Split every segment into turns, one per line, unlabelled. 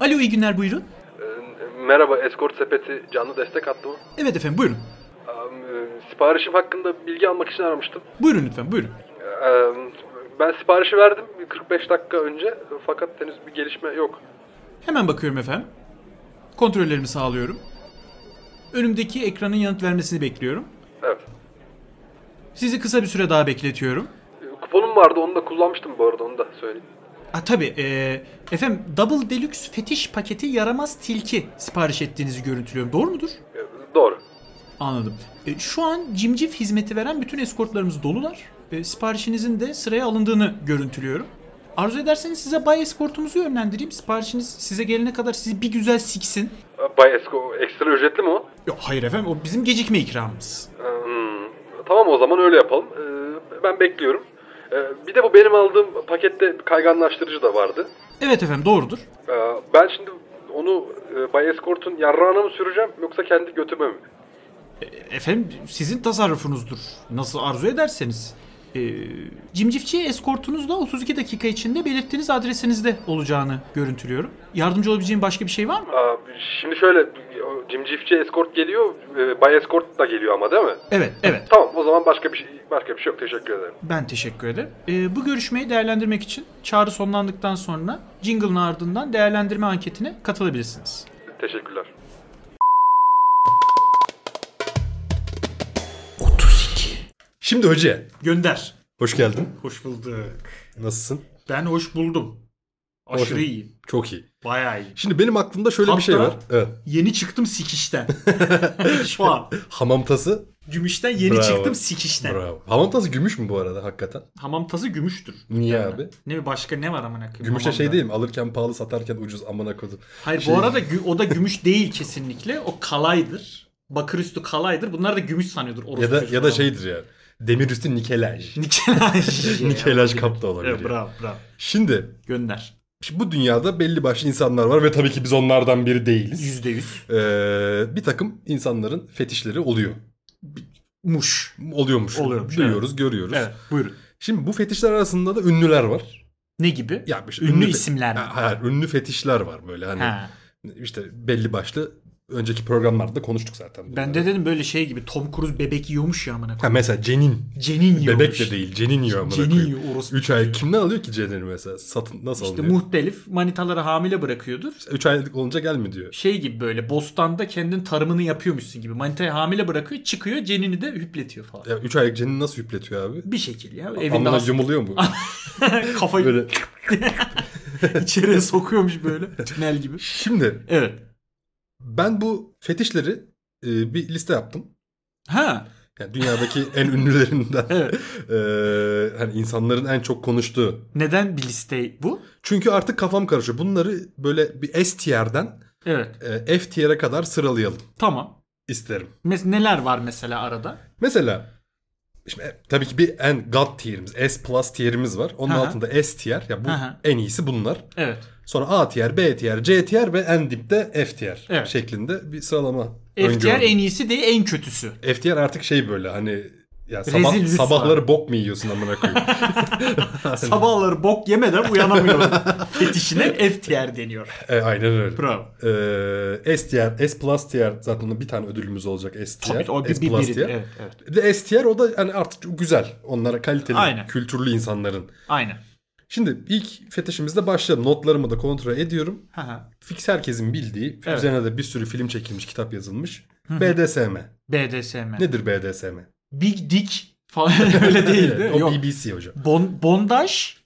Alo iyi günler buyurun.
Ee, Merhaba, Escort Sepeti canlı destek hattı mı?
Evet efendim buyurun.
Eee, Siparişim hakkında bilgi almak için aramıştım.
Buyurun lütfen buyurun.
Eee, Ben siparişi verdim 45 dakika önce fakat henüz bir gelişme yok.
Hemen bakıyorum efendim. Kontrollerimi sağlıyorum. Önümdeki ekranın yanıt vermesini bekliyorum.
Evet.
Sizi kısa bir süre daha bekletiyorum.
Eee, E, Kuponum vardı onu da kullanmıştım bu arada onu da söyleyeyim.
Ha tabii eee, efendim Double Deluxe fetiş paketi yaramaz tilki sipariş ettiğinizi görüntülüyorum. Doğru mudur?
Eee, E, Doğru.
Anladım. E, şu an cimcif hizmeti veren bütün eskortlarımız dolular. E, siparişinizin de sıraya alındığını görüntülüyorum. Arzu ederseniz size bay eskortumuzu yönlendireyim. Siparişiniz size gelene kadar sizi bir güzel siksin.
Eee, E, Bay Esko ekstra ücretli mi o?
Yok hayır efendim o bizim gecikme ikramımız.
Eee, hmm. Tamam o zaman öyle yapalım. Eee, Ben bekliyorum. Eee, Bir de bu benim aldığım pakette kayganlaştırıcı da vardı.
Evet efendim doğrudur.
Eee, Ben şimdi onu eee, Bay Escort'un yarrağına mı süreceğim yoksa kendi götüme mi?
E, efendim sizin tasarrufunuzdur. Nasıl arzu ederseniz. E, cimcifçiye eskortunuz da 32 dakika içinde belirttiğiniz adresinizde olacağını görüntülüyorum. Yardımcı olabileceğim başka bir şey var mı?
Aa, Şimdi şöyle o cimcifçi escort geliyor, e, bay escort da geliyor ama değil mi?
Evet, evet.
Tamam o zaman başka bir şey başka bir şey yok teşekkür ederim.
Ben teşekkür ederim. Ee, bu görüşmeyi değerlendirmek için çağrı sonlandıktan sonra jingle'ın ardından değerlendirme anketine katılabilirsiniz.
Teşekkürler.
32.
Şimdi Hoca,
Gönder.
hoş geldin.
Hoş bulduk.
Nasılsın?
Ben hoş buldum. Aşırı
Hoşum.
iyiyim.
Çok iyi.
Bayağı iyi.
Şimdi benim aklımda şöyle bir şey
Hatta-
var. Evet.
Yeni çıktım sikişten. Şu an.
Hamam tası.
Gümüşten yeni
Bravo.
çıktım sikişten.
Bravo. Hamam tası gümüş mü bu arada hakikaten?
Hamam tazı gümüştür.
Niye
Yani.
abi?
Ne başka ne var amına koyayım?
Gümüşe şey
hamamda?
değil mi? Alırken pahalı satarken ucuz amına kodum.
Hayır
Şey-
bu arada gü- o da gümüş değil kesinlikle. O kalaydır. Bakır üstü kalaydır. Bunlar da gümüş sanıyordur. orospu
Ya da şey- ya da
çocuklar.
şeydir ya. Demir üstü nikelaj.
Nikelaj.
Nikelaj kap da olabilir.
şey Evet,
ya.
bravo bravo.
Şimdi,
Gönder.
şimdi bu dünyada belli başlı insanlar var ve tabii ki biz onlardan biri değiliz.
Yüzde yüz.
Ee, bir takım insanların fetişleri oluyor.
Muş.
Oluyormuş.
Oluyormuş,
Duyuyoruz, görüyoruz.
Evet buyurun.
Şimdi bu fetişler arasında da ünlüler var.
Ne gibi?
Ya işte
Ünlü
fe-
isimler mi?
Ha, hayır, ünlü fetişler var böyle hani
Ha.
işte belli başlı önceki programlarda konuştuk zaten. bunları.
Ben de dedim böyle şey gibi Tom Cruise bebek yiyormuş ya amına
ha
koyayım.
mesela cenin.
Cenin yiyormuş.
Bebek de değil, cenin yiyor amına
Cenin
koyayım.
yiyor orospu.
3 ay kimden alıyor ki cenini mesela? Satın nasıl
İşte
alıyor?
muhtelif manitalara hamile bırakıyordur.
3 aylık olunca gelme diyor.
Şey gibi böyle bostanda kendin tarımını yapıyormuşsun gibi. Manitayı hamile bırakıyor çıkıyor cenini de hüpletiyor falan.
Ya 3 aylık cenin nasıl yüpletiyor abi?
Bir şekil ya. Evinde
Evinde
hasta-
yumuluyor mu?
kafayı
böyle.
içeriye sokuyormuş böyle. Tünel gibi.
Şimdi
Evet.
ben bu fetişleri e, bir liste yaptım.
Ha.
Yani dünyadaki en ünlülerinden.
Evet.
e, hani insanların en çok konuştuğu
Neden bir liste bu?
Çünkü artık kafam karışıyor. Bunları böyle bir S tier'den
Evet.
e, F tier'e kadar sıralayalım
Tamam.
isterim.
Mes- neler var mesela arada?
Mesela şimdi e, tabii ki bir en god tier'imiz, S plus tier'imiz var. Onun
Hı hı.
altında S tier. Ya bu
Hı hı.
en iyisi bunlar.
Evet.
Sonra A tier, B tier, C tier ve en dipte F tier
Evet.
şeklinde bir sıralama.
FTR
öngördüm.
en iyisi değil en kötüsü.
F tier artık şey böyle hani ya sabah,
Rezil rüsva.
sabahları bok mu yiyorsun amına koyayım?
Sabahları bok yemeden uyanamıyor. Fetişine FTR deniyor.
E, aynen öyle.
Bravo.
Ee, S tier, S plus tier zaten onun bir tane ödülümüz olacak S tier.
Tabii o bir,
S
bir,
plus
biri.
tier.
Evet, evet.
Bir de S tier o da hani artık çok güzel. Onlara kaliteli,
Aynen.
kültürlü insanların.
Aynen.
Şimdi ilk fetişimizle başlayalım. Notlarımı da kontrol ediyorum.
Hı hı.
Fix herkesin bildiği,
Evet.
üzerine de bir sürü film çekilmiş, kitap yazılmış. BDSM.
BDSM.
Nedir BDSM?
Big Dick falan öyle değil değil mi?
o
Yok.
BBC hocam.
Bon, bondaj.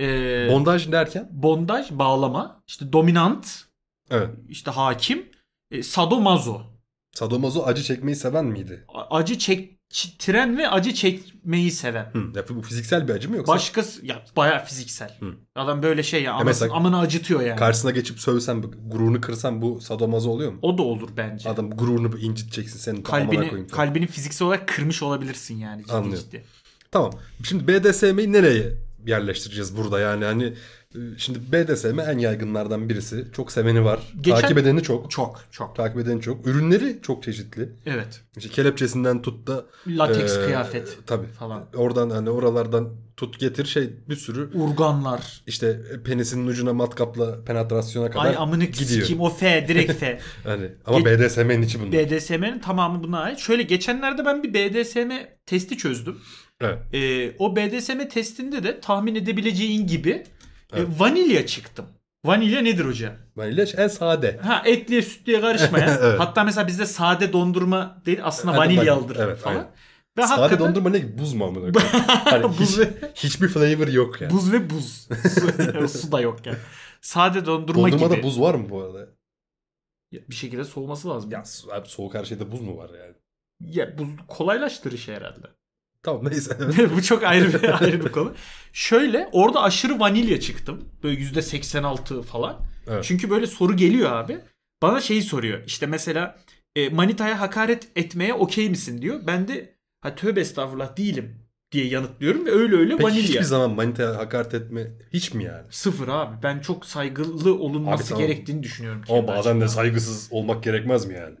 e,
Bondaj derken?
bondaj bağlama. işte dominant.
Evet.
işte hakim. E, sadomazo.
Sadomazo acı çekmeyi seven miydi?
A- Acı çek ç- tren ve acı çekmeyi seven.
Hı. Ya bu fiziksel bir acı mı yoksa?
Başkası ya bayağı fiziksel.
Hı.
Adam böyle şey ya,
Ya mesela-
anasını- amını acıtıyor yani.
Karşısına geçip sövsen, gururunu kırsan bu sadomazo oluyor mu?
O da olur bence.
Adam gururunu bir inciteceksin senin amına
kalbini
koyayım falan.
kalbini fiziksel olarak kırmış olabilirsin yani ciddi
Anlıyorum.
ciddi.
tamam. Şimdi BDSM'yi nereye yerleştireceğiz burada yani hani Ee, Şimdi BDSM en yaygınlardan birisi. Çok seveni var.
Geçen-
Takip edeni çok.
Çok çok.
Takip edeni çok. Ürünleri çok çeşitli.
Evet.
İşte kelepçesinden tut da
Lateks
eee,
kıyafet
tabii.
falan.
Oradan hani oralardan tut getir şey bir sürü
Urganlar.
işte penisinin ucuna matkapla penetrasyona kadar
Ay amını
gidiyor.
sikeyim o F direkt F.
Hani ama
Ge-
BDSM'nin içi bunlar.
BDSM'nin tamamı buna ait. Şöyle geçenlerde ben bir BDSM testi çözdüm.
evet.
Ee, o BDSM testinde de tahmin edebileceğin gibi e,
Evet.
vanilya çıktım. Vanilya nedir hocam?
Vanilya en sade.
Ha etliye sütlüye karışmayan.
Evet.
Hatta mesela bizde sade dondurma değil aslında
Evet,
vanilyalıdır
evet,
falan.
aynen.
Ve
sade
hakikaten
dondurma ne ki? Buz mu amına koyayım? Hani
Buz
hiç-
ve-
hiçbir flavor yok yani.
buz ve buz. Su, su da yok yani. Sade dondurma
Dondurmada
gibi.
buz var mı bu arada?
Bir şekilde soğuması lazım.
Ya su- abi soğuk her şeyde buz mu var yani?
Ya buz kolaylaştırışı herhalde.
Tamam neyse.
Bu çok ayrı bir ayrı bir konu. Şöyle orada aşırı vanilya çıktım. Böyle yüzde 86 falan.
Evet.
Çünkü böyle soru geliyor abi. Bana şeyi soruyor. İşte mesela e, manitaya hakaret etmeye okey misin diyor. Ben de ha tövbe estağfurullah değilim diye yanıtlıyorum ve öyle öyle
Peki
vanilya.
hiçbir zaman manitaya hakaret etme hiç mi yani?
Sıfır abi. Ben çok saygılı olunması
Abi tamam.
gerektiğini düşünüyorum.
Ama
kendi
bazen de
açımdan.
saygısız olmak gerekmez mi yani?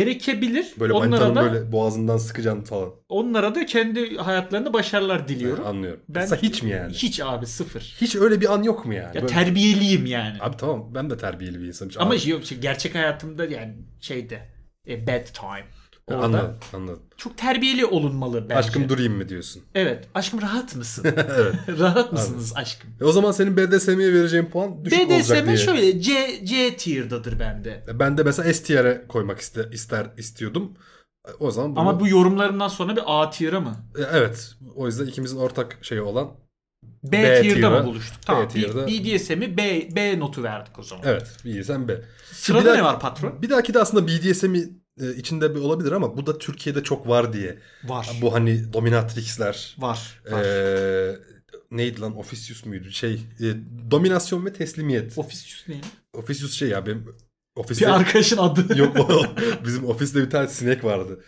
gerekebilir.
Böyle
onlara
manitanın
da
böyle boğazından sıkacaksın falan.
onlara da kendi hayatlarında başarılar diliyorum.
Anlıyorum.
Ben-
Mesela hiç mi yani? Hiç,
Hiç abi sıfır.
öyle bir an yok mu yani?
Ya
Böyle-
terbiyeliyim yani.
Abi tamam ben de terbiyeli bir insanım.
Ama
Abi,
şey yok şey gerçek hayatımda yani şeyde e, bad time. Orada şey-
Anladım anladım.
çok terbiyeli olunmalı bence.
Aşkım durayım mı diyorsun?
Evet. Aşkım rahat mısın?
evet.
rahat mısınız aşkım?
E o zaman senin BDSM'ye vereceğin puan düşük olacak
BDSM
diye.
şöyle C, C tier'dadır bende.
E Ben de mesela S tier'e koymak iste, ister istiyordum. E, O zaman bunu-
Ama bu yorumlarından sonra bir A tier'a mı?
E, evet. O yüzden ikimizin ortak şeyi olan
B,
B
tier'da
tier'a,
mı buluştuk?
B
Tamam.
tier'da.
B- BDSM'i B, B notu verdik o zaman.
evet bir sen B.
Sırada
Bir dahaki-
ne var patron?
Bir dahaki de aslında BDSM'i e, içinde bir olabilir ama bu da Türkiye'de çok var diye.
Var.
Bu hani dominatrixler
Var. var.
Ee, Eee neydi lan Officius muydu? Şey, e, dominasyon ve teslimiyet.
Ofis yüz neydi?
Officius şey ya benim ofiste
Bir arkadaşın adı.
yok o, bizim ofiste bir tane sinek vardı.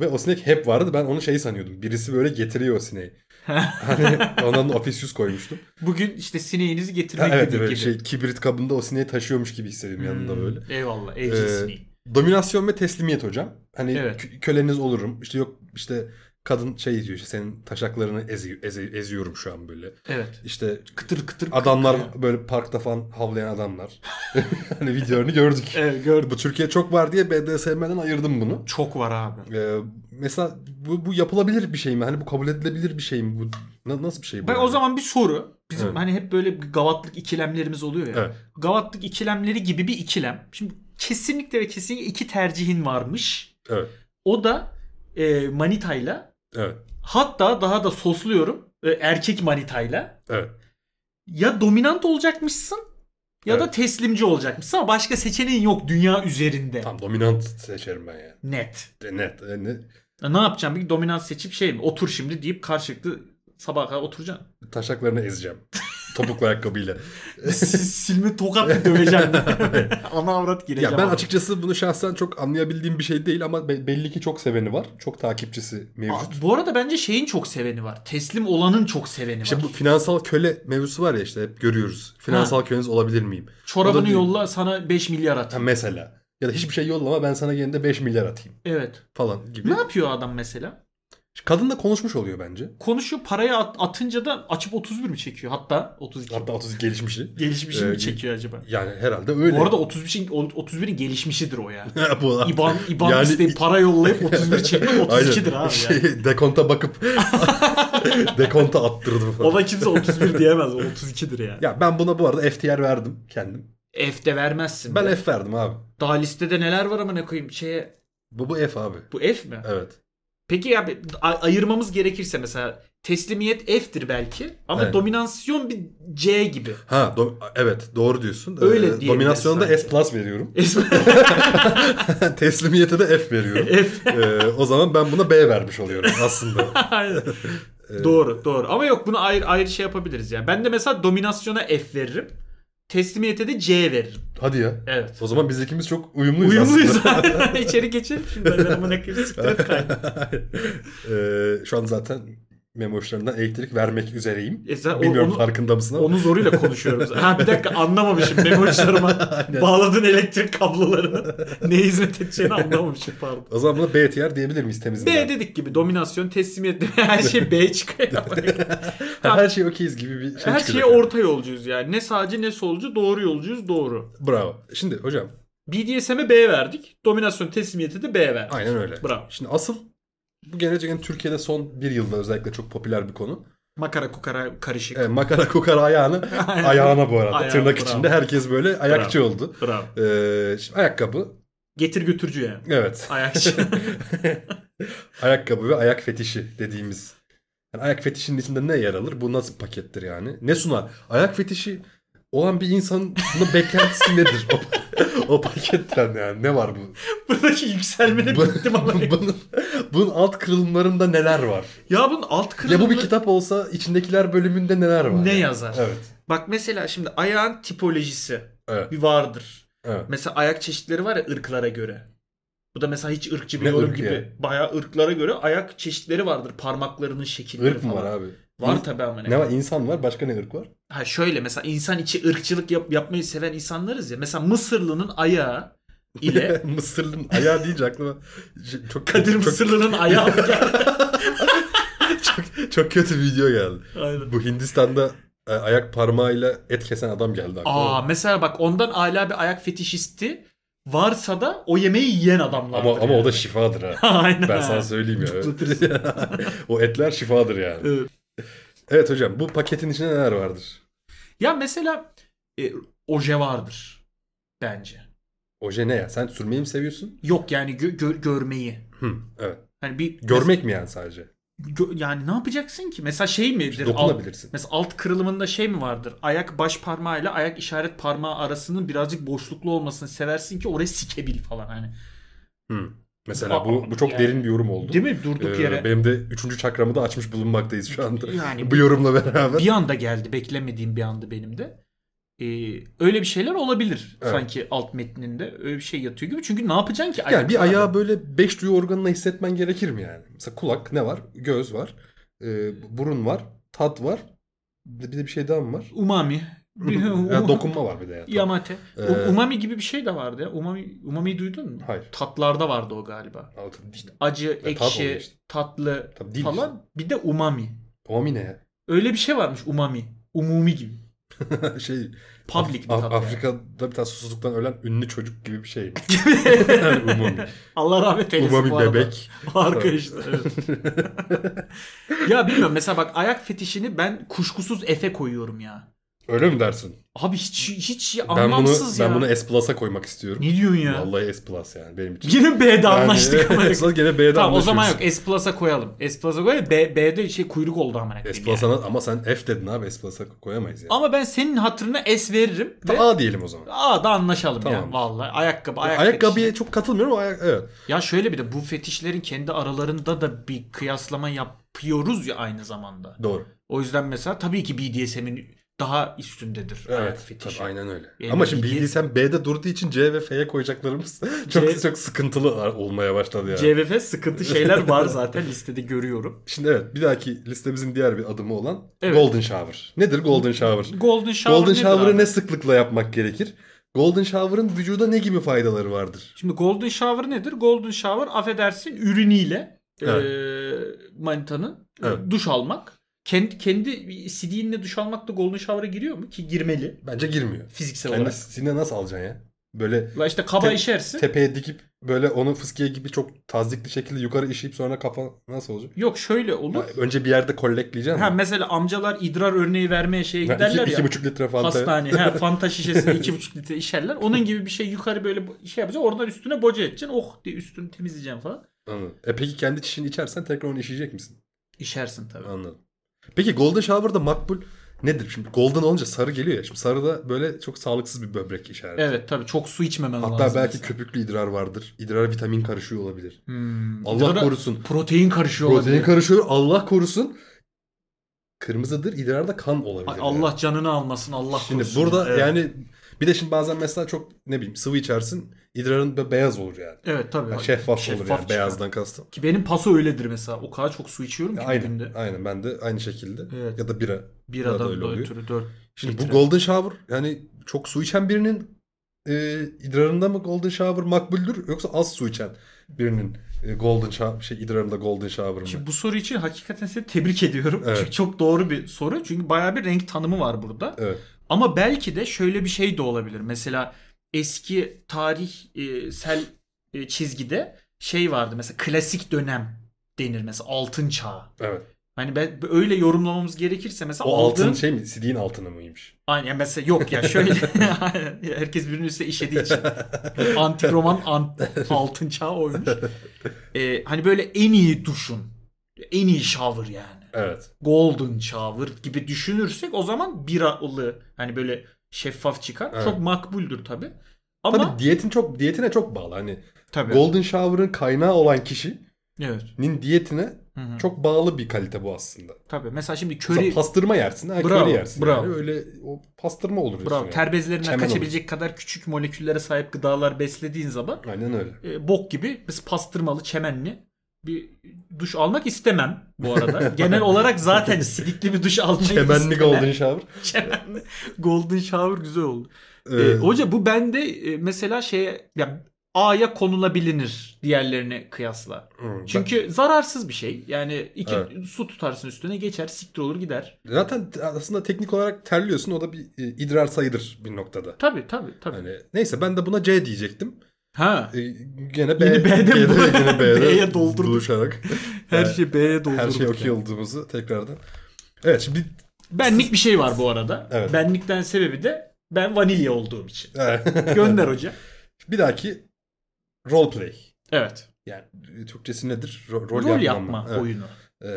Ve o sinek hep vardı. Ben onu şey sanıyordum. Birisi böyle getiriyor o sineği. hani ondan da Officius koymuştum.
Bugün işte sineğinizi
Ha,
getirmek
evet
günü
evet
gibi.
şey kibrit kabında o sineği taşıyormuş gibi hissediyorum yanında
Hmm,
böyle.
Eyvallah.
Ee,
Evcil sineği.
Dominasyon ve teslimiyet hocam. Hani
Evet.
kö- köleniz olurum. İşte yok işte kadın şey diyor işte senin taşaklarını ezi- ezi- eziyorum şu an böyle.
Evet.
İşte
Kıtır kıtır.
Adamlar
kıtır.
böyle parkta falan havlayan adamlar. hani videolarını gördük.
Evet gördüm.
Bu Türkiye çok var diye BDSM'den ayırdım bunu.
Çok var abi.
Ee, mesela bu, bu yapılabilir bir şey mi? Hani bu kabul edilebilir bir şey mi? Bu na- nasıl bir şey bu?
Ben o zaman bir soru. Bizim
Evet.
hani hep böyle bir gavatlık ikilemlerimiz oluyor ya.
Evet.
Gavatlık ikilemleri gibi bir ikilem. Şimdi kesinlikle ve kesinlikle iki tercihin varmış.
Evet.
O da e, manitayla
Evet.
hatta daha da sosluyorum e, erkek manitayla
Evet.
ya dominant olacakmışsın ya da
Evet.
teslimci olacakmışsın ama başka seçeneğin yok dünya üzerinde.
Tam dominant seçerim ben yani.
Net.
E, Net. e, ne-
Ya Ne yapacağım? Bir dominant seçip şey mi? Otur şimdi deyip karşılıklı sabaha kadar oturacaksın.
Taşaklarını ezeceğim. Topuklu ayakkabıyla.
Sil- Silme tokat döveceğim. Ana avrat gireceğim.
ya ben
ama.
açıkçası bunu şahsen çok anlayabildiğim bir şey değil ama be- belli ki çok seveni var. Çok takipçisi
Aa,
mevcut.
bu arada bence şeyin çok seveni var. Teslim olanın çok seveni
İşte
var.
bu finansal köle mevzusu var ya işte hep görüyoruz. Finansal köleniz olabilir miyim? o da
Çorabını
değil.
yolla sana 5 milyar
Ha,
atayım.
mesela. Ya da hiçbir şey yollama ben sana yerinde 5 milyar atayım
Evet.
falan gibi.
Ne yapıyor adam mesela?
Kadınla konuşmuş oluyor bence.
Konuşuyor parayı at- atınca da açıp 31 mi çekiyor? Hatta 32.
Hatta 30 gelişmişi.
Gelişmişini
Ee,
mi çekiyor acaba?
Yani herhalde öyle.
Bu arada şey, 31'in 31'in gelişmişidir o ya.
Bu arada-
İban, İban
Yani-
isteyip para yollayıp 31 çekmek 32'dir
Aynen.
abi ya.
Şey, dekonta bakıp dekonta attırdım falan.
Ona kimse 31 diyemez. O 32'dir yani.
Ya ben buna bu arada FTR verdim kendim.
F de vermezsin.
Ben
be.
F verdim abi.
Daha listede neler var ama ne koyayım şeye.
Bu, bu F abi.
Bu F mi?
Evet.
Peki abi a- ayırmamız gerekirse mesela teslimiyet F'tir belki ama
Evet.
dominasyon bir C gibi.
Ha do- evet doğru diyorsun. Ee,
Öyle diyebiliriz
Dominasyonda
sanki.
S plus veriyorum.
F.
Teslimiyete de F veriyorum. Ee, o zaman ben buna B vermiş oluyorum aslında.
Aynen.
Ee,
doğru doğru ama yok bunu ayrı ayrı şey yapabiliriz ya. Ben de mesela dominasyona F veririm. Teslimiyete de C veririm.
Hadi ya.
Evet.
O zaman biz ikimiz çok uyumluyuz,
Uyumluyuz
aslında.
aynen. İçeri geçelim şimdi. Ben amına koyayım siktir et kaydı.
Ee, şu an zaten memoşlarından elektrik vermek üzereyim.
E zaten o-
Bilmiyorum
onu-
farkında mısın ama.
Onu zoruyla konuşuyorum. zaten. ha bir dakika anlamamışım. Memo uçlarıma bağladığın elektrik kablolarını neye hizmet edeceğini anlamamışım pardon.
O zaman buna B tier diyebilir miyiz temizliğinden?
B dedik gibi dominasyon, teslimiyet her şey B çıkıyor.
Ha, Her şey okeyiz gibi bir şey
her şeye
çıkacak.
orta yolcuyuz yani. Ne sağcı ne solcu doğru yolcuyuz doğru.
Bravo. Şimdi hocam
BDSM'e B verdik. Dominasyon teslimiyete de B verdik.
aynen öyle.
Bravo.
Şimdi asıl bu gerçekten Türkiye'de son bir yılda özellikle çok popüler bir konu.
Makara kukara karışık.
E, makara kokar ayağını. ayağına bu arada.
Ayağı,
Tırnak
bravo.
içinde herkes böyle ayakçı oldu.
Bravo.
E, şimdi ayakkabı.
Getir götürücü yani.
Evet.
Ayakçı.
ayakkabı ve ayak fetişi dediğimiz. Yani ayak fetişinin içinde ne yer alır? Bu nasıl bir pakettir yani? Ne sunar? Ayak fetişi olan bir insanın beklentisi nedir? O, o paketten yani ne var bu?
Buradaki yükselmene
Bu-
bittim ama.
bunun, bunun alt kırılımlarında neler var?
ya bunun alt
Ya
kırılımı
bu bir kitap olsa içindekiler bölümünde neler var?
Ne
yani?
yazar?
Evet.
Bak mesela şimdi ayağın tipolojisi
Evet.
bir vardır.
evet.
Mesela ayak çeşitleri var ya ırklara göre. Bu da mesela hiç ırkçı bir
Ne
yorum
ırkı
gibi.
ya?
Bayağı ırklara göre ayak çeşitleri vardır. Parmaklarının şekilleri
Irk mı
falan.
var abi?
Var tabii ama ne.
Ne var? İnsan var. Başka ne ırk var?
Ha şöyle mesela insan içi ırkçılık yap- yapmayı seven insanlarız ya. Mesela Mısırlı'nın ayağı ile
Mısırlı'nın ayağı deyince aklıma şey- çok
Kadir
çok,
Mısırlı'nın ayağı geldi.
çok, çok kötü bir video geldi.
Aynen.
Bu Hindistan'da e, ayak parmağıyla et kesen adam geldi aklıma.
Aa mesela bak ondan hala bir ayak fetişisti varsa da o yemeği yiyen adamlardır.
ama ama o da
yani.
şifadır ha.
Aynen.
Ben sana söyleyeyim ya.
Tutlatırsın.
o etler şifadır yani.
Evet.
Evet hocam bu paketin içinde neler vardır?
Ya mesela e, oje vardır bence.
Oje ne ya? Sen sürmeyi mi seviyorsun?
Yok yani gö- gö- görmeyi.
Hı, evet.
Hani bir
Görmek mi yani sadece?
mes- gö- yani ne yapacaksın ki? Mesela şey midir? Alt,
Dokunabilirsin.
mesela alt kırılımında şey mi vardır? Ayak baş parmağıyla ayak işaret parmağı arasının birazcık boşluklu olmasını seversin ki oraya sikebil falan hani.
Hı. Mesela bu, bu çok
Yani.
derin bir yorum oldu.
Değil mi? Durduk
Ee,
yere.
Benim de üçüncü çakramı da açmış bulunmaktayız şu anda.
Yani
bu yorumla beraber.
Bir anda geldi. Beklemediğim bir anda benim de. Ee, öyle bir şeyler olabilir
Evet.
sanki alt metninde. Öyle bir şey yatıyor gibi. Çünkü ne yapacaksın ki?
Yani bir
Ayakta-
ayağı böyle beş duyu organına hissetmen gerekir mi yani? Mesela kulak ne var? Göz var. e, burun var. Tat var. Bir de, bir de bir şey daha mı var?
Umami.
Yani dokunma var bir de. Ya, Tamam.
Yamate. U-
Ee,
umami gibi bir şey de vardı ya. Umami, umami'yi duydun mu?
Hayır.
Tatlarda vardı o galiba.
Altı değil.
Acı,
tat
ekşi,
oluyor işte.
tatlı
Tabii değil
falan. Bir de umami.
Umami ne ya?
Öyle bir şey varmış umami. Umumi gibi.
şey
Public bir
Af-
tat. yani.
Afrika'da bir tane susuzluktan ölen ünlü çocuk gibi bir şey. yani umami.
Allah rahmet eylesin bu
umami
arada.
bebek.
Harika işte. evet. ya bilmiyorum mesela bak ayak fetişini ben kuşkusuz Efe koyuyorum ya.
Öyle mi dersin?
Abi hiç hiç
Ben bunu,
anlamsız ya.
ben bunu S Plus'a koymak istiyorum.
Ne diyorsun ya?
Vallahi S Plus yani benim için.
Yine B'de
Yani-
anlaştık ama.
S Plus gene B'de
Tamam o
anlaşıyoruz.
zaman yok. S Plus'a koyalım. S Plus'a koyalım. B, B'de şey kuyruk oldu amına
S
koyayım.
Plus'a
yani.
ama sen F dedin abi S Plus'a koyamayız yani.
Ama ben senin hatırına S veririm. Ve
A diyelim o zaman.
Aa da anlaşalım ya
Tamam.
vallahi. Ayakkabı, ayak
Ayakkabıya
fetişi.
çok katılmıyorum ama ayak, evet.
Ya şöyle bir de bu fetişlerin kendi aralarında da bir kıyaslama yapıyoruz ya aynı zamanda.
Doğru.
O yüzden mesela tabii ki BDSM'in daha üstündedir ayak
Evet.
fetişi.
Tabii, aynen öyle.
Benim
ama şimdi
bilgi-
bilgi sen B'de durduğu için C ve F'ye koyacaklarımız çok
C-
çok sıkıntılı ar- olmaya başladı yani.
CVF sıkıntı şeyler var zaten listede görüyorum.
Şimdi evet bir dahaki listemizin diğer bir adımı olan
Evet.
Golden Shower. Nedir Golden Shower?
Golden Shower
Golden
nedir
Shower'ı
abi?
ne sıklıkla yapmak gerekir? Golden Shower'ın vücuda ne gibi faydaları vardır?
Şimdi Golden Shower nedir? Golden Shower affedersin ürünüyle
Evet.
eee, manitanın e,
Evet.
duş almak. Kendi, kendi sidiğinle duş almak da Golden Shower'a giriyor mu? Ki girmeli
Bence girmiyor.
fiziksel olarak.
Kendisini Hani nasıl alacaksın ya? Böyle
La işte kaba
Te-
işersin.
tepeye dikip böyle onu fıskiye gibi çok tazdikli şekilde yukarı işeyip sonra kafa nasıl olacak?
Yok şöyle olur.
Ya önce bir yerde kollekleyeceksin.
Ha
ama.
mesela amcalar idrar örneği vermeye şeye
Ya iki,
giderler
iki
ya.
buçuk litre falan.
Hastane. Ha, fanta şişesini iki buçuk litre işerler. Onun gibi bir şey yukarı böyle bo- şey yapacaksın. Oradan üstüne boca edeceksin. Oh diye üstünü temizleyeceksin falan.
Anladım. E peki kendi çişini içersen tekrar onu işeyecek misin?
İşersin tabii.
Anladım. Peki Golden Shower'da makbul nedir? Şimdi Golden olunca sarı geliyor ya. Şimdi sarı da böyle çok sağlıksız bir böbrek işareti.
Evet tabii çok su içmemen lazım.
Hatta belki köpüklü idrar vardır. İdrara vitamin karışıyor olabilir.
Hmm.
Allah
İdrara-
korusun.
Protein karışıyor
Protein
olabilir.
karışıyor. Allah korusun. Kırmızıdır. idrarda kan olabilir.
Ay,
yani.
Allah canını almasın Allah
Şimdi
korusun.
burada
Evet.
yani Bir de şimdi bazen mesela çok ne bileyim sıvı içersin idrarın be- beyaz olur yani.
Evet tabii.
Yani
bak,
şeffaf, olur yani
çıkar.
beyazdan kastım.
Ki benim paso öyledir mesela. O kadar çok su içiyorum ki bir
Aynen,
günde.
aynen ben de aynı şekilde.
Evet.
Ya da bira.
Bir
Bana da
adam
öyle oluyor.
ötürü dört.
Şimdi
litre.
bu golden shower yani çok su içen birinin e, idrarında mı golden shower makbuldür yoksa az su içen birinin e, golden shower şey idrarında golden shower mı?
Şimdi bu soru için hakikaten seni tebrik ediyorum.
Evet.
Çünkü çok doğru bir soru. Çünkü bayağı bir renk tanımı var burada.
Evet.
Ama belki de şöyle bir şey de olabilir. Mesela eski tarihsel e, çizgide şey vardı. Mesela klasik dönem denir mesela altın çağı.
Evet.
Hani ben öyle yorumlamamız gerekirse mesela
O altın,
aldığın-
şey mi? CD'nin altını mıymış?
Aynen yani mesela yok ya şöyle Aynen. herkes birbirinin üstüne işediği için. Antik roman an- altın çağı oymuş. Ee, hani böyle en iyi duşun. En iyi shower yani.
Evet.
Golden shower gibi düşünürsek o zaman biralı hani böyle şeffaf çıkar.
Evet.
Çok makbuldür tabi. Ama
Tabii diyetin çok diyetine çok bağlı. Hani
Tabii.
golden shower'ın kaynağı olan kişinin
evet.
diyetine
Hı hı.
çok bağlı bir kalite bu aslında.
Tabii. Mesela şimdi
Mesela
köri
pastırma yersin, ha,
Bravo,
köri yersin.
bravo.
Yani öyle o pastırma olur. diyorsun
bravo
yani.
ter bezlerinden
Çemen
kaçabilecek kadar küçük moleküllere sahip gıdalar beslediğin zaman
Aynen öyle.
e, bok gibi biz pastırmalı çemenli bir duş almak istemem bu arada. Genel olarak zaten sidikli bir duş almayı
Kemenli
istemem.
golden shower.
Çemenli golden shower güzel oldu. E,
Ee,
hoca bu bende e, mesela şeye ya A'ya konulabilinir diğerlerine kıyasla.
hı, ben-
Çünkü zararsız bir şey. Yani iki
Evet.
su tutarsın üstüne geçer, siktir olur gider.
Zaten aslında teknik olarak terliyorsun. O da bir e, idrar sayıdır bir noktada.
Tabii tabii tabii.
Hani neyse ben de buna C diyecektim.
Ha.
E, gene B,
Yine B'de
gene,
bu-
gene B'de
B'ye doldurduk.
buluşarak
Her
Evet.
şey B'ye doldurduk.
her şey okey
yani.
olduğumuzu tekrardan. Evet şimdi
Benlik bir şey var bu arada.
Evet.
Benlikten sebebi de ben vanilya olduğum için.
Evet.
Gönder hoca.
bir dahaki roleplay.
Evet.
Yani e, Türkçesi nedir? Ro-
Rol, yapma,
Evet.
oyunu.
Ee,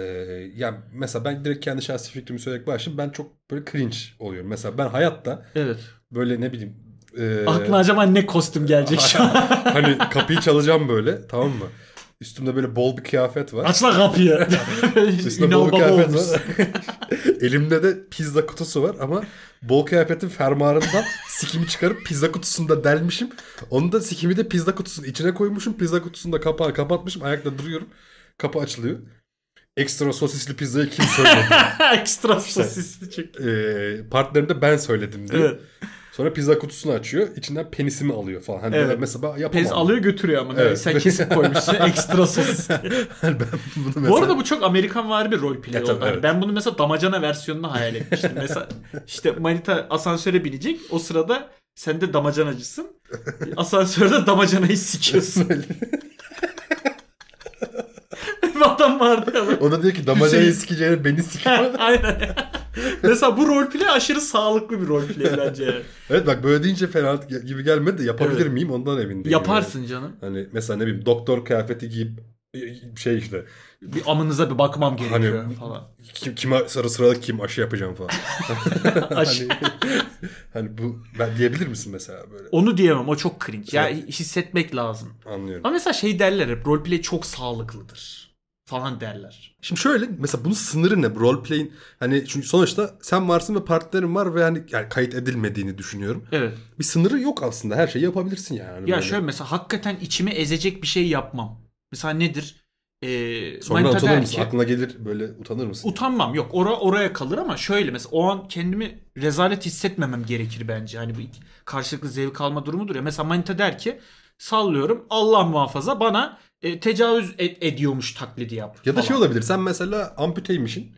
yani mesela ben direkt kendi şahsi fikrimi söyleyerek başlayayım. Ben çok böyle cringe oluyorum. Mesela ben hayatta
Evet.
böyle ne bileyim e,
Aklına acaba ne kostüm gelecek şu an?
hani kapıyı çalacağım böyle tamam mı? Üstümde böyle bol bir kıyafet var.
Aç lan kapıyı.
Üstümde bol
Ünal
bir
Baba
kıyafet
olmuş.
var. Elimde de pizza kutusu var ama bol kıyafetin fermuarından sikimi çıkarıp pizza kutusunda delmişim. Onu da sikimi de pizza kutusunun içine koymuşum. Pizza kutusunun da kapağı kapatmışım. Ayakta duruyorum. Kapı açılıyor. Ekstra sosisli pizzayı kim söyledi?
Ekstra
Şey.
sosisli çek.
Ee, partnerim de ben söyledim diyor.
Evet.
Sonra pizza kutusunu açıyor. İçinden penisimi alıyor falan. Hani
Evet.
ben mesela yapamam.
Pez alıyor götürüyor ama.
Evet.
Sen kesip koymuşsun ekstra sosis.
ben bunu mesela...
Bu arada bu çok Amerikan vari bir rol play
Ya
oldu.
tabii,
Hani
evet.
Ben bunu mesela damacana versiyonunu hayal etmiştim. mesela işte manita asansöre binecek. O sırada sen de damacanacısın. Asansörde damacanayı sikiyorsun. Bir Adam vardı ya. lan.
O da diyor ki damacanayı
Hüseyin-
sikeceğine beni sikiyor.
Aynen. mesela bu rol play aşırı sağlıklı bir rol play bence. yani.
evet bak böyle deyince fena gibi gelmedi de yapabilir
Evet.
miyim ondan emin değilim.
Yaparsın canım.
Yani. Hani mesela ne bileyim doktor kıyafeti giyip şey işte
Bir amınıza bir bakmam gerekiyor
Hani-
falan.
kim, kime sıra sıralık kim aşı yapacağım falan.
Aş-
hani, hani bu ben diyebilir misin mesela böyle?
Onu diyemem. O çok cringe. Ya hissetmek lazım.
Anlıyorum.
Ama mesela şey derler hep rolplay çok sağlıklıdır falan derler.
Şimdi şöyle mesela bunun sınırı ne? Roleplay'in hani çünkü sonuçta sen varsın ve partnerin var ve hani yani kayıt edilmediğini düşünüyorum.
Evet.
Bir sınırı yok aslında. Her şeyi yapabilirsin yani. Hani
Ya
böyle.
şöyle mesela hakikaten içimi ezecek bir şey yapmam. Mesela nedir? Ee,
Sonra
manita
utanır
der
mısın?
ki,
Aklına gelir böyle utanır mısın?
Utanmam yok. Ora, oraya kalır ama şöyle mesela o an kendimi rezalet hissetmemem gerekir bence. Hani bu iki- karşılıklı zevk alma durumudur ya. Mesela manita der ki sallıyorum Allah muhafaza bana e, tecavüz et- ediyormuş taklidi yap.
ya da şey
falan.
olabilir. Sen mesela amputeymişsin.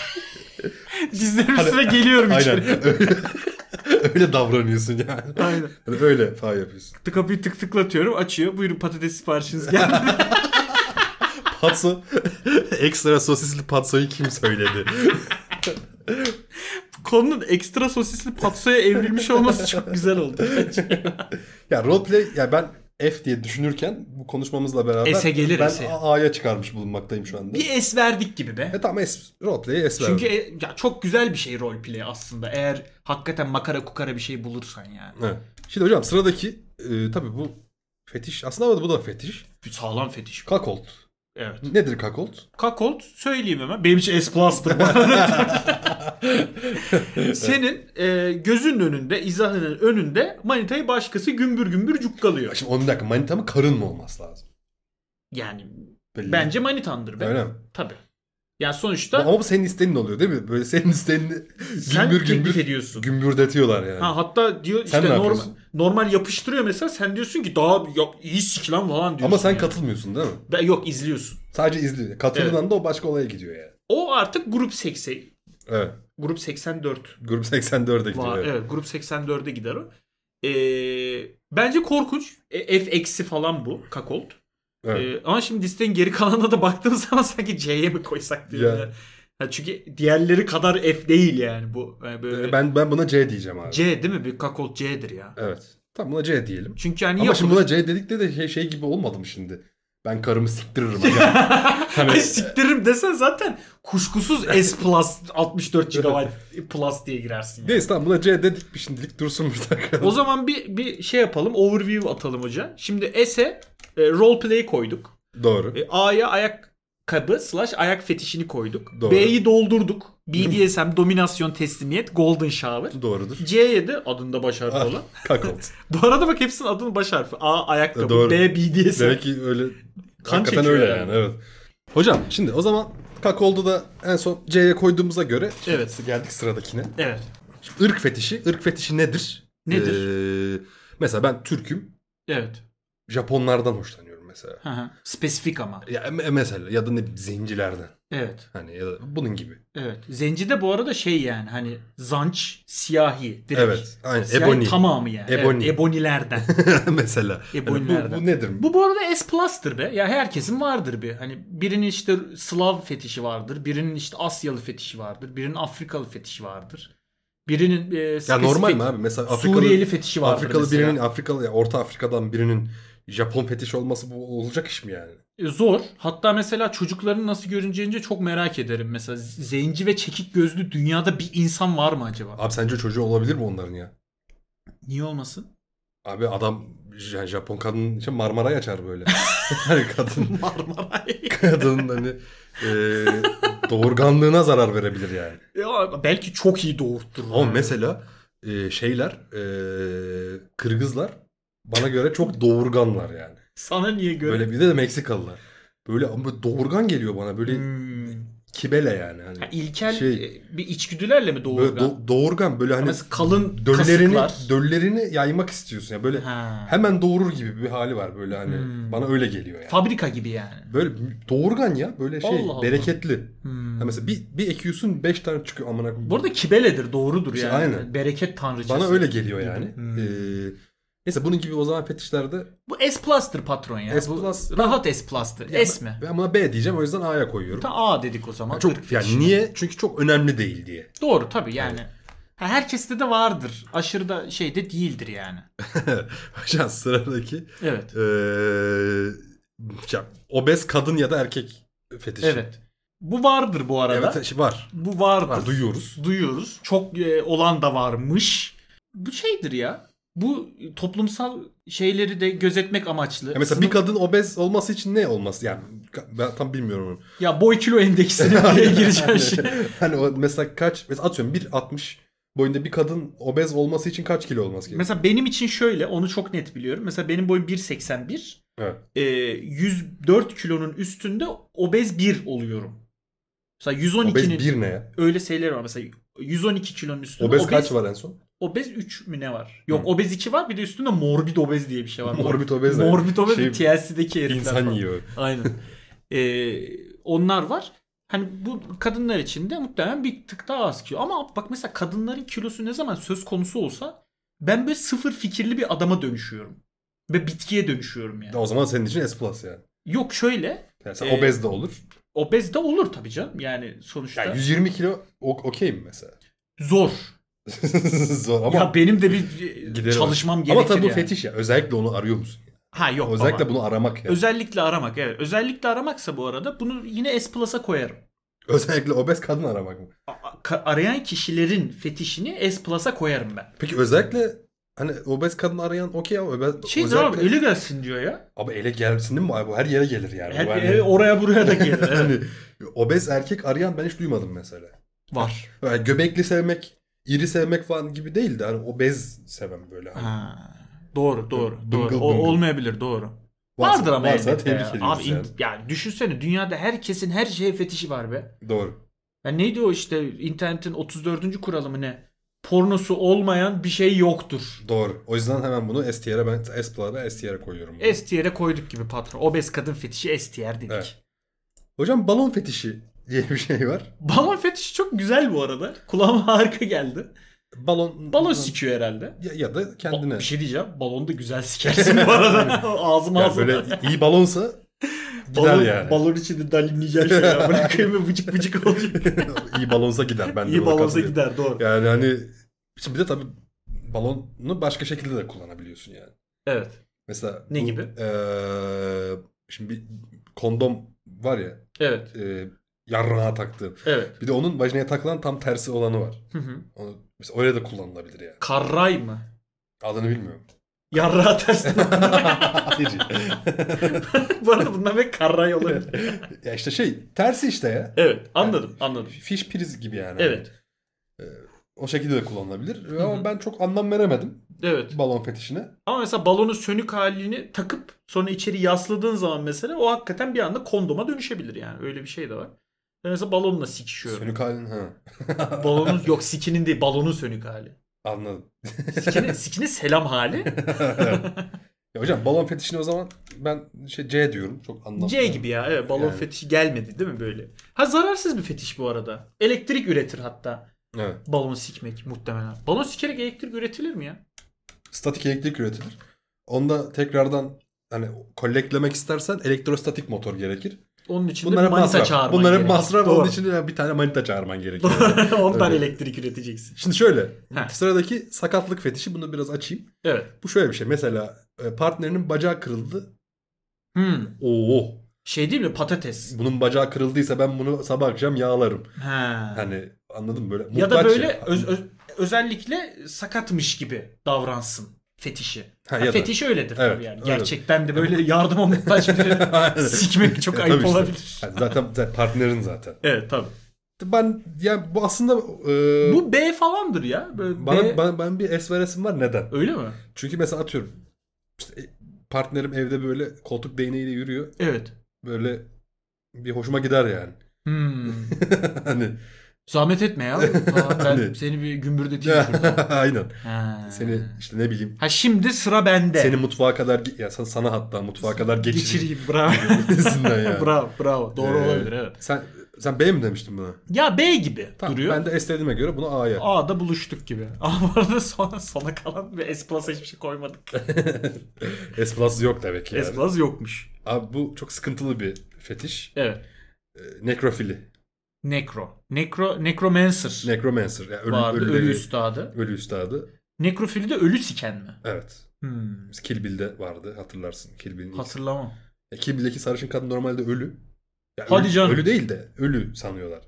Dizlerim üstüne geliyorum içeri.
şey- Hani- Aynen. Öyle, öyle davranıyorsun yani.
Aynen.
Hani öyle falan yapıyorsun.
Tık- Kapıyı tık tıklatıyorum açıyor. Buyurun patates siparişiniz geldi.
Patso ekstra sosisli patsoyu kim söyledi?
Konunun ekstra sosisli patsoya evrilmiş olması çok güzel oldu.
ya roleplay ya ben F diye düşünürken bu konuşmamızla beraber
S'e gelir,
ben
S'e.
A- A'ya çıkarmış bulunmaktayım şu anda.
Bir es verdik gibi be.
E tamam S, roleplay'e S
Çünkü
verdim.
e, ya çok güzel bir şey roleplay aslında. Eğer hakikaten makara kukara bir şey bulursan yani.
Evet. Şimdi hocam sıradaki e, tabii bu fetiş aslında ama bu da fetiş.
Bir sağlam fetiş.
Kakolt.
Evet.
Nedir kakolt?
Kakolt söyleyeyim hemen. Benim için S plus'tır. bu arada. Senin e, gözünün önünde, izahının önünde manitayı başkası gümbür gümbür
Ya
cukkalıyor.
Şimdi 10 dakika manita mı karın mı olması lazım?
Yani
Belli.
bence manitandır be.
Öyle mi?
Tabii. Yani sonuçta
Ama bu senin isteğin oluyor değil mi? Böyle senin isteğini
sen
gümbür
teklif
gümbür
ediyorsun.
gümbürdetiyorlar yani.
Ha, hatta diyor
Sen
işte
ne
normal,
yapıyorsun?
normal yapıştırıyor mesela sen diyorsun ki daha ya, iyi sik lan falan diyorsun.
Ama sen
yani.
katılmıyorsun değil mi?
Ben- yok izliyorsun.
Sadece izliyor. Katılan
Evet.
anda o başka olaya gidiyor yani.
O artık grup 80.
Evet.
Grup 84.
Grup 84'e gidiyor.
Var,
evet.
evet grup 84'e gider o. Ee, bence korkunç. E, F eksi falan bu Kakolt.
Evet.
Ee, ama şimdi listenin geri kalanına da baktığım zaman sanki C'ye mi koysak diyor.
Ya.
ya. Ha, çünkü diğerleri kadar F değil yani bu. Yani böyle
E, Ben ben buna C diyeceğim abi.
C değil mi? Bir kakol C'dir ya.
Evet. Tamam buna C diyelim.
Çünkü hani
Ama
yapılır.
şimdi buna C dedik de, de şey, şey gibi olmadım şimdi. Ben karımı siktiririm. Hani Yani
Ay siktiririm desen zaten kuşkusuz S plus 64 GB plus diye girersin. Yani.
Neyse tamam buna C dedik bir şimdilik dursun burada.
O zaman bir bir şey yapalım. Overview atalım hoca. Şimdi S'e e, role play koyduk.
Doğru.
E, A'ya ayak kabı slash ayak fetişini koyduk.
Doğru.
B'yi doldurduk. BDSM, dominasyon, teslimiyet, golden shower.
Doğrudur.
C'ye de adında baş
Ah.
harfi olan.
Kakolt.
Bu arada bak hepsinin adının baş harfi. A ayakkabı,
E, doğru.
B BDSM.
Demek ki öyle
Kan
hakikaten
çekiyor
öyle yani.
yani.
evet. Hocam şimdi o zaman Kakol'da da en son C'ye koyduğumuza göre
Evet.
geldik sıradakine.
Evet.
Şimdi ırk fetişi. Irk fetişi nedir?
Nedir?
Ee, mesela ben Türk'üm.
Evet.
Japonlardan hoşlanıyorum mesela.
Hı hı. Spesifik ama.
Ya me- mesela ya da ne bileyim, zencilerden.
Evet.
Hani ya da bunun gibi.
Evet. Zenci de bu arada şey yani hani zanç, siyahi direkt.
Evet. Aynen.
Siyahi
Ebony.
tamamı yani. Evet,
Ebony.
ebonilerden.
mesela.
E,
Hani bu,
Ebonilerden.
bu nedir?
Bu bu arada S plus'tır be. Ya herkesin vardır bir. Hani birinin işte Slav fetişi vardır. Birinin işte Asyalı fetişi vardır. Birinin Afrikalı fetişi vardır. Birinin e,
ya
spesifik
normal mi abi? Mesela Afrikalı,
Suriyeli fetişi vardır
Afrikalı
mesela.
birinin Afrikalı ya Orta Afrika'dan birinin Japon fetişi olması bu olacak iş mi yani?
E, Zor. Hatta mesela çocukların nasıl görüneceğince çok merak ederim. Mesela zenci ve çekik gözlü dünyada bir insan var mı acaba?
Abi sence çocuğu olabilir mi onların ya?
Niye olmasın?
Abi adam J- Japon kadın için Marmaray açar böyle. hani kadın
Marmaray.
kadının hani e, doğurganlığına zarar verebilir yani.
ya, belki çok iyi doğurttur.
Ama mesela e, şeyler e, Kırgızlar bana göre çok doğurganlar yani.
Sana niye göre?
Böyle bir de, de Meksikalılar. Böyle ama doğurgan geliyor bana böyle
Hmm.
kibele yani. Hani
Ha, ilkel
Şey-
e, bir içgüdülerle mi
böyle
doğurgan?
do- doğurgan böyle hani
Mesela kalın
döllerini
kasıklar.
döllerini yaymak istiyorsun ya böyle
Ha.
hemen doğurur gibi bir hali var böyle hani
Hmm.
bana öyle geliyor yani.
Fabrika gibi yani.
Böyle doğurgan ya böyle şey
Allah Allah.
bereketli.
Hmm.
Ha mesela bir, bir ekiyorsun 5 tane çıkıyor amına koyayım.
Bu arada kibeledir doğrudur
İşte
yani.
aynen.
Bereket tanrıçası.
Bana öyle geliyor yani.
Hmm.
Ee, neyse bunun gibi o zaman fetişlerde
Bu S plus'tır patron ya.
S
Bu
plus-
Rahat S plus'tır. S mi?
ben buna B diyeceğim o yüzden A'ya koyuyorum.
Ta A dedik o zaman. Türk
Çok yani
fetişi.
niye? Çünkü çok önemli değil diye.
Doğru tabii yani. Ha, herkeste de vardır. Aşırı da şey de değildir yani.
Hocam sıradaki
Evet.
ee, ya, obez kadın ya da erkek fetişi.
Evet. Bu vardır bu arada.
Evet şey var.
Bu vardır.
Var duyuyoruz.
Duyuyoruz. Çok e, olan da varmış. Bu şeydir ya. Bu toplumsal şeyleri de gözetmek amaçlı.
Ya mesela bir kadın obez olması için ne olması? Yani ben tam bilmiyorum onu.
Ya boy kilo endeksine diye gireceğim şey. şimdi.
hani o mesela kaç mesela atıyorum 1.60 boyunda bir kadın obez olması için kaç kilo olması gerekiyor?
Mesela benim için şöyle onu çok net biliyorum. Mesela benim boyum 1.81.
Evet.
Ee, 104 kilonun üstünde obez 1 oluyorum. Mesela
Obez
112'nin
1 ne ya?
öyle şeyleri var. Mesela 112 kilonun üstünde
Obez, kaç var Hmm. en son?
Obez 3 mü ne var? Yok obez 2 var bir de üstünde morbid obez diye bir şey var.
Morbid obez ne?
Morbid obez
Şey,
TLC'deki herifler.
İnsan
falan.
yiyor.
Aynen. Ee, onlar var. Hani bu kadınlar için de muhtemelen bir tık daha az kilo. Ama bak mesela kadınların kilosu ne zaman söz konusu olsa ben böyle sıfır fikirli bir adama dönüşüyorum. Ve bitkiye dönüşüyorum yani.
O zaman senin için S plus yani.
Yok şöyle
yani sen
Ee,
obez de olur.
obez de olur tabii canım. Yani sonuçta
Yani 120 kilo o- okey mi mesela?
zor.
Zor ama
ya benim de bir
Gideri
çalışmam gerekir
ama tabii bu
yani.
fetiş ya. Özellikle onu arıyor musun?
Ha yok baba.
Özellikle bunu aramak yani.
Özellikle aramak evet. Özellikle aramaksa bu arada bunu yine S Plus'a koyarım.
Özellikle obez kadın aramak mı?
A- a- ka- arayan kişilerin fetişini S Plus'a koyarım ben.
Peki özellikle hani obez kadın arayan okey ama obez,
Şey
özellikle...
abi ele gelsin diyor ya.
Abi ele gelsin değil mi? Abi Bu her yere gelir yani.
Her-
Bu her
e, oraya buraya da gelir. evet.
hani obez erkek arayan ben hiç duymadım mesela.
Var.
Yani göbekli sevmek, iri sevmek falan gibi değil de hani obez seven böyle. Hani.
Ha. Doğru doğru.
Bıngıl
doğru. O,
bıngıl.
olmayabilir doğru.
Varsa-
Vardır ama
varsa
elbette
tebrik
ya.
ediyoruz
Abi in-
yani.
ya düşünsene dünyada herkesin her şeye fetişi var be.
Doğru.
Ya neydi o işte internetin 34. kuralı mı ne? Pornosu olmayan bir şey yoktur.
Doğru. O yüzden hemen bunu S tier'e ben S plana S tier'e koyuyorum. bunu.
S tier'e koyduk gibi patron. Obez kadın fetişi S tier dedik.
Evet. Hocam balon fetişi diye bir şey var.
Balon fetişi çok güzel bu arada. Kulağıma harika geldi.
Balon
Balon sikiyor herhalde.
ya, ya da
Ba-
kendine.
Bir şey diyeceğim. Balon da güzel sikersin bu arada. ağzım
Yani
ağzım.
böyle iyi balonsa gider
balon,
yani.
balon içinde dalinleyeceksin şöyle. ya. Bırakayım ve bıcık bıcık olacak.
iyi balonsa gider. Ben de
İyi
buna
balonsa
katılıyorum.
gider doğru.
Yani hani şimdi bir de tabii balonu başka şekilde de kullanabiliyorsun yani.
Evet.
Mesela
Ne
bu,
gibi?
eee, şimdi bir kondom var ya
Evet.
eee yarrağa taktığın.
Evet.
Bir de onun vajinaya takılan tam tersi olanı var.
Hı hı.
Onu mesela öyle de kullanılabilir yani.
Karray mı?
Adını bilmiyorum.
Yarrağı tersten.
Hayır.
bu arada bundan beri karray olabilir.
ya işte şey tersi işte ya.
Evet. Anladım. Anladım.
Fiş priz gibi yani.
Evet.
O şekilde de kullanılabilir.
Hı hı.
Ama ben çok anlam veremedim
Evet.
balon fetişine.
Ama mesela balonun sönük halini takıp sonra içeri yasladığın zaman mesela o hakikaten bir anda kondoma dönüşebilir yani. Öyle bir şey de var. Ben mesela balonla sikişiyorum.
Sönük halin ha.
Balonun yok sikinin değil balonun sönük hali.
Anladım.
Sikine, sikine selam hali.
ya hocam balon fetişini o zaman ben şey C diyorum. Çok anlamlı.
C gibi ya. Evet, balon
Yani.
fetişi gelmedi değil mi böyle? Ha zararsız bir fetiş bu arada. Elektrik üretir hatta.
Evet.
Balon sikmek muhtemelen. Balon sikerek elektrik üretilir mi ya?
Statik elektrik üretilir. Onda tekrardan hani kolleklemek istersen elektrostatik motor gerekir.
Onun için
Bunlar
de
hep
manita
masraf.
çağırman
Bunlar hep
gerekir.
masraf.
Doğru.
Onun için de bir tane manita çağırman gerekir.
Ondan
Öyle.
elektrik üreteceksin.
Şimdi şöyle.
Heh.
Sıradaki sakatlık fetişi. Bunu biraz açayım.
Evet.
Bu şöyle bir şey. Mesela e, partnerinin bacağı kırıldı.
Hmm.
Oo.
Şey değil mi? Patates.
Bunun bacağı kırıldıysa ben bunu sabah akşam yağlarım.
Ha.
Hani anladın mı? Böyle
ya da
muhtaç
böyle öz- öz- özellikle sakatmış gibi davransın fetişi.
Ha,
Ha,
ya da-
fetiş öyledir
Evet,
tabii yani.
öyle.
Gerçekten de böyle yardıma muhtaç biri
Aynen.
sikmek çok
E,
ayıp
tabii işte.
olabilir.
Yani zaten, zaten partnerin zaten.
Evet tabii.
Ben yani bu aslında e,
Bu B falandır ya. Böyle
bana,
B-
bana- ben bir es veresim var neden?
Öyle mi?
Çünkü mesela atıyorum işte e, partnerim evde böyle koltuk değneğiyle yürüyor.
Evet.
Böyle bir hoşuma gider yani.
Hmm.
hani
Zahmet etme ya. Tamam, ben
Hani-
seni bir gümbürdeteyim şurada.
aynen.
Ha.
Seni işte ne bileyim
Ha şimdi sıra bende.
seni mutfağa kadar gi- ya sana, sana hatta mutfağa kadar geçireyim.
geçireyim. Bravo.
Gibisinden yani.
bravo, bravo. Doğru
Ee,
olabilir evet.
Sen sen B mi demiştin buna?
Ya B gibi
Tamam,
duruyor.
Ben de S dediğime göre bunu A'ya.
A'da buluştuk gibi. Ama bu arada sona, sona kalan bir S plus hiçbir şey koymadık.
S plus yok demek ki. yani.
S plus yokmuş.
Abi bu çok sıkıntılı bir fetiş.
Evet.
Ee, Nekrofili.
Necro. Necro, necromancer
Necromancer. Yani ölü,
vardı. Ölü,
ölüleri-
üstadı.
ölü üstadı.
Nekrofili de ölü siken mi?
Evet.
Hmm.
Biz Kill Bill'de vardı hatırlarsın. Kill Bill'in ilk-
Hatırlamam.
Ya Kill Bill'deki sarışın kadın normalde ölü. Ya
Hadi
ölü,
canım.
Ölü değil de ölü sanıyorlar.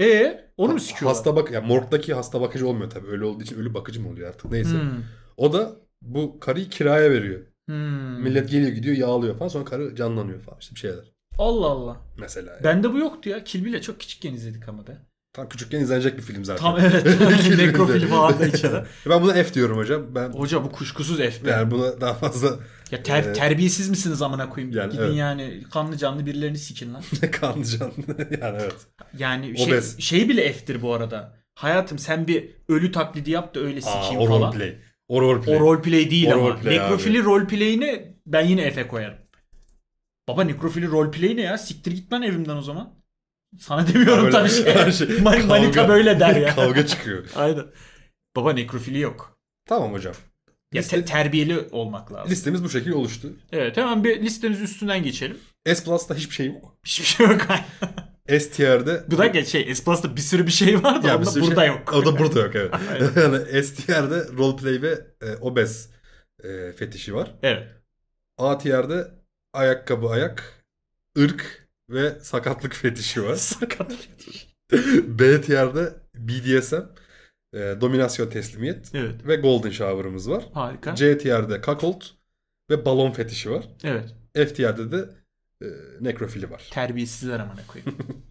E onu mu sikiyorlar?
Hasta bak ya morgdaki hasta bakıcı olmuyor tabii. Ölü olduğu için ölü bakıcı mı oluyor artık neyse.
Hmm.
O da bu karıyı kiraya veriyor.
Hmm.
Millet geliyor gidiyor yağlıyor falan sonra karı canlanıyor falan işte bir şeyler.
Allah Allah.
Mesela. yani.
Bende bu yoktu ya. Kill Bill'e çok küçükken izledik ama be.
Tam küçükken izlenecek bir film zaten.
Tam evet.
Kill Bill'de.
Hani Nekrofili falan da içeri.
ben buna F diyorum hocam. Ben
Hoca bu kuşkusuz F'de.
yani buna daha fazla
ya ter-
Evet.
terbiyesiz misiniz amına koyayım?
Yani
Gidin
evet.
yani kanlı canlı birilerini sikin lan.
kanlıcan. yani evet.
Yani şey,
Obez.
şey bile F'tir bu arada. Hayatım sen bir ölü taklidi yap da öyle
Aa,
sikeyim
o
falan.
roleplay. O roleplay.
O roleplay değil
O
ama.
roleplay
nekrofili roleplay'ini ben yine F'e koyarım. Baba nekrofili roleplay ne ya? Siktir git lan evimden o zaman. Sana demiyorum
Böyle-
tabii şey.
her şey-
Man- Manita
kavga-
böyle der ya.
Kavga çıkıyor.
Aynen. Baba nekrofili yok.
Tamam hocam.
Ya
Liste-
te- terbiyeli olmak lazım.
Listemiz bu şekilde oluştu.
Evet hemen bir listemiz üstünden geçelim.
S Plus'ta hiçbir şey yok.
Hiçbir şey yok.
S tier'de
Bu da ge- şey S Plus'ta bir sürü bir şey var da
Ya bir
onda
sürü şey-
burada yok.
o da burada yok evet.
Aynen.
yani S tier'de roleplay ve e, obez e, fetişi var.
Evet.
A tier'de ayakkabı ayak, ırk ve sakatlık fetişi var.
Sakat.
B tier'de BDSM, e, dominasyon teslimiyet
Evet.
ve golden shower'ımız var.
Harika.
C tier'de cuckold ve balon fetişi var.
evet.
F tier'de de e, nekrofili var.
Terbiyesizler amına koyayım.